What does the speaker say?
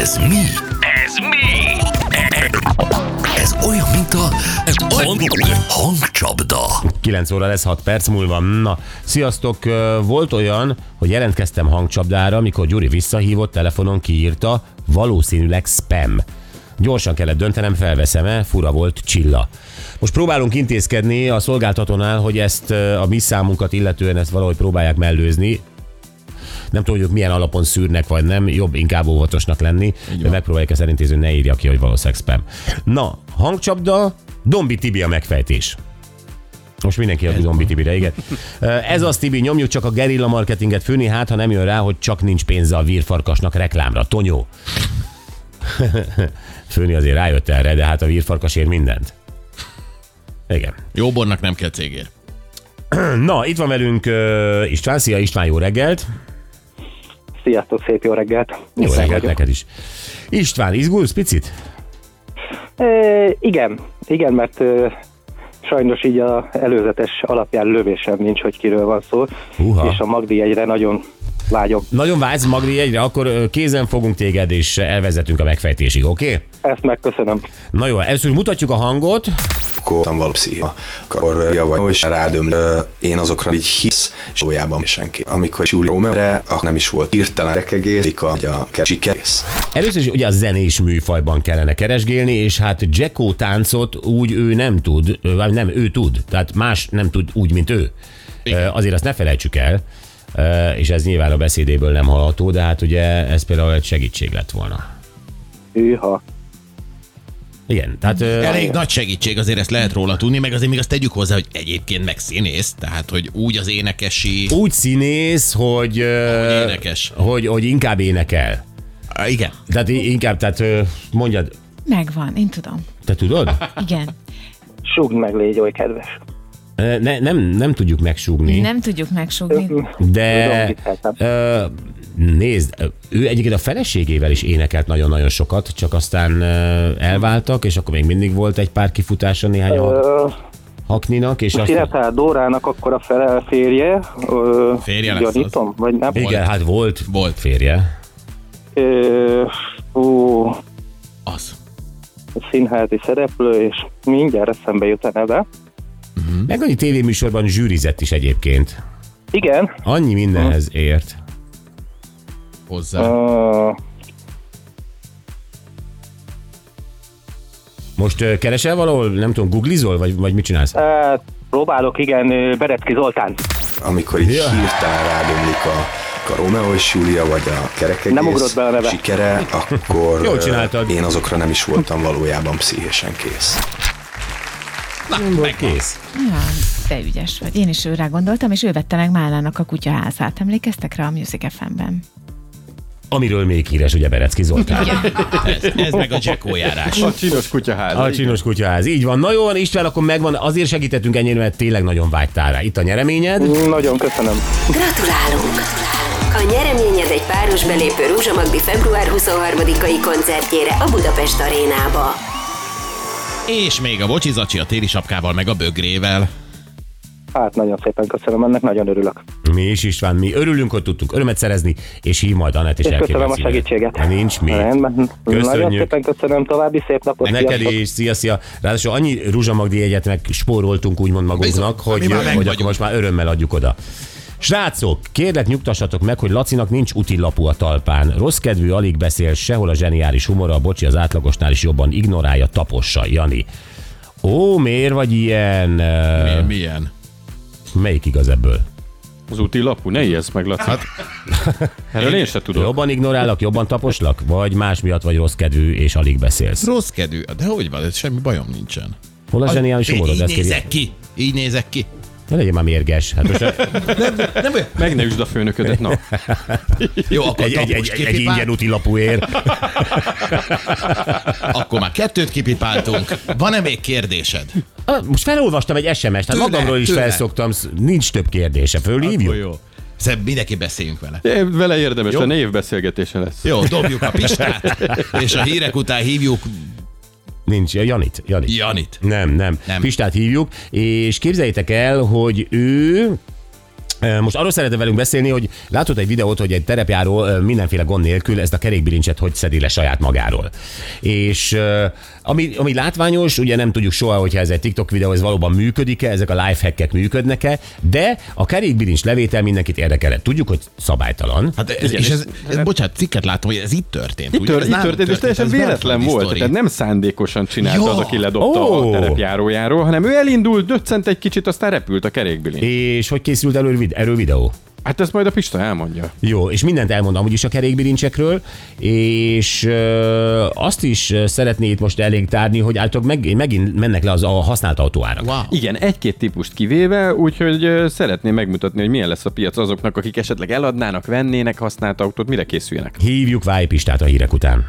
Ez mi? Ez mi? Ez olyan, mint a hangcsapda. 9 óra lesz 6 perc múlva. Na, sziasztok! Ö, Volt olyan, hogy jelentkeztem hangcsapdára, mikor Gyuri visszahívott, telefonon kiírta, valószínűleg spam. Gyorsan kellett döntenem, felveszem-e, fura volt Csilla. Most próbálunk intézkedni a szolgáltatónál, hogy ezt ö, a mi számunkat illetően ezt valahogy próbálják mellőzni. Nem tudjuk, milyen alapon szűrnek, vagy nem. Jobb inkább óvatosnak lenni. De megpróbáljuk ezt elintézni, hogy ne írja ki, hogy valószínűleg spam. Na, hangcsapda, Dombi Tibi a megfejtés. Most mindenki a Zombi Tibire, igen. Ez az Tibi, nyomjuk csak a gerilla marketinget főni, hát ha nem jön rá, hogy csak nincs pénze a vírfarkasnak reklámra. Tonyó. főni azért rájött erre, de hát a vírfarkas ér mindent. Igen. Jó bornak nem kell cégér. Na, itt van velünk uh, István. Szia István, jó reggelt. Sziasztok, szép jó reggelt! Jó István reggelt vagyok. neked is. István, izgulsz picit? Ö, igen, igen, mert ö, sajnos így az előzetes alapján lövésem nincs, hogy kiről van szó, Húha. és a Magdi egyre nagyon vágyom. Nagyon vágysz Magdi egyre, akkor ö, kézen fogunk téged, és elvezetünk a megfejtésig, oké? Okay? Ezt megköszönöm. Na jó, először mutatjuk a hangot. voltam való pszicha, akkor javaj, hogy rádöm, ö, én azokra így hisz, és valójában senki. Amikor Julie Romerre, akkor nem is volt hirtelen rekegész, hogy a kecsikerész. Először is ugye a zenés műfajban kellene keresgélni, és hát Jacko táncot úgy ő nem tud, ö, vagy nem, ő tud, tehát más nem tud úgy, mint ő. Ö, Azért azt ne felejtsük el, ö, és ez nyilván a beszédéből nem hallható, de hát ugye ez például egy segítség lett volna. Hűha. Igen, tehát ö, Elég nagy segítség, azért ezt lehet róla tudni, meg azért még azt tegyük hozzá, hogy egyébként meg színész, tehát hogy úgy az énekesi... úgy színész, hogy, ö, Ahogy énekes. hogy, hogy inkább énekel. Á, Igen. Tehát i- inkább, tehát ö, mondjad, Megvan, én tudom. te tudod? Igen. Sugd meg, légy oly kedves. Ö, Ne, nem, nem tudjuk megsúgni. Nem tudjuk megsugni. De Tudom, ö, nézd, ö, ő egyébként a feleségével is énekelt nagyon-nagyon sokat, csak aztán ö, elváltak, és akkor még mindig volt egy pár kifutása néhány hak- Ö, hakninak, és azt Sziretál Dórának akkor a fele férje, ö, Férje lesz az. gyanítom, vagy nem? igen, hát volt, Volt. férje. Ö, Ú, Az. színházi szereplő, és mindjárt eszembe jut a neve. Meg annyi tévéműsorban zsűrizett is egyébként. Igen, Annyi mindenhez Hm. ért. Hozzá. ö, Most ö, keresel valahol, nem tudom, googlizol, vagy, vagy mit csinálsz? Hát, próbálok, igen, ö, Berecki Zoltán. Amikor így Ja. hirtelen rádömlik a a Romeo és Júlia, vagy a kerekegész Nem ugrott be a neve. sikere, akkor Jól ö, csináltad. én azokra nem is voltam valójában pszichésen kész. Meg kész. Ja, de ügyes vagy. Én is őre gondoltam, és ő vette meg Málának a kutyaházát. Emlékeztek rá a Music FM-ben? Amiről még híres, ugye Berecki Zoltán. Ez, ez meg a Jacko járás. A csinos kutyaház. A csinos kutyaház. Így van. Na jó van, István, akkor megvan. Azért segítettünk ennyire, mert tényleg nagyon vágytál rá. Itt a nyereményed. Nagyon köszönöm. Gratulálunk! A nyereményed egy páros belépő Rúzsa Magdi február 23-ai koncertjére a Budapest arénába. És még a bocsizacsi a téli sapkával, meg a bögrével. Hát nagyon szépen köszönöm, ennek nagyon örülök. Mi is István, mi örülünk, hogy tudtunk örömet szerezni, és hív majd Anett is És köszönöm a elképzelsz ide. segítséget. Ha nincs mi. Rendben. Nagyon Köszönjük. szépen köszönöm, további szép napot. Neked sziasztok. is, szia, szia. Ráadásul annyi Ruzsa Magdi egyet meg spóroltunk úgymond Bizony, magunknak, mi hogy, már meg hogy akkor vagyunk. most már örömmel adjuk oda. Srácok, kérlek nyugtassatok meg, hogy Lacinak nincs utilapú a talpán. Rossz kedvű, alig beszél, sehol a zseniális humora, a bocsi az átlagosnál is jobban ignorálja, tapossa, Jani. Ó, miért vagy ilyen? Ö, Mi- Milyen? Melyik igaz ebből? Az úti lapú, ne ijedsz meg, Laci. Hát... Erről én se tudom. Jobban ignorálak, jobban taposlak? Vagy más miatt vagy rossz kedvű és alig beszélsz? Rossz kedvű. De hogy van, ez semmi bajom nincsen. Hol a zseniális Én humorod? így Ezt kéri- nézek ki. Így nézek ki. Ne legyél már mérges. Hát most Nem olyan. Meg ne üsd a főnöködet, na. Jó, akkor egy, egy, egy, egy, egy ingyen úti lapúért. Akkor már kettőt kipipáltunk. Van-e még kérdésed? Ah, Most felolvastam egy SMS-t, hát Tőle, magamról is tőle. felszoktam, sz- nincs több kérdése. Fölhívjuk? Jó. Szerintem mindenki beszéljünk vele. De Vele érdemes, de névbeszélgetése lesz. Jó, dobjuk a Pistát, és a hírek után hívjuk Nincs, ja, Janit. Janit. Janit. Nem, nem, nem. Nem. Pistát hívjuk, és képzeljétek el, hogy ő Ö, Most arról szeretne velünk beszélni, hogy látott egy videót, hogy egy terepjáró ö, mindenféle gond nélkül ezt a kerékbilincset hogy szedi le saját magáról. És ö, ami, ami látványos, ugye nem tudjuk soha, hogyha ez egy TikTok videó, ez valóban működik-e, ezek a lifehackek működnek-e, de a kerékbilincs levétel mindenkit érdekel. Tudjuk, hogy szabálytalan. Hát ez, és ez, ez, bocsánat, cikket látom, hogy ez itt történt. Itt, tört, itt történt, és teljesen véletlen volt. Tehát nem szándékosan csinálta az, aki ledobta Ó. a terepjárójáról, hanem ő elindult, döccent egy kicsit, aztán repült a kerékbilin. És hogy készült elő vid- erről videó? Hát ezt majd a Pista elmondja. Jó, és mindent elmondom úgyis a kerékbilincsekről, és ö, azt is ö, szeretné itt most elénk tárni, hogy általában meg, megint mennek le az a használt autóárak. Wow. Igen, egy-két típust kivéve, úgyhogy ö, szeretném megmutatni, hogy milyen lesz a piac azoknak, akik esetleg eladnának, vennének használt autót, mire készüljenek. Hívjuk Vájpistát a hírek után.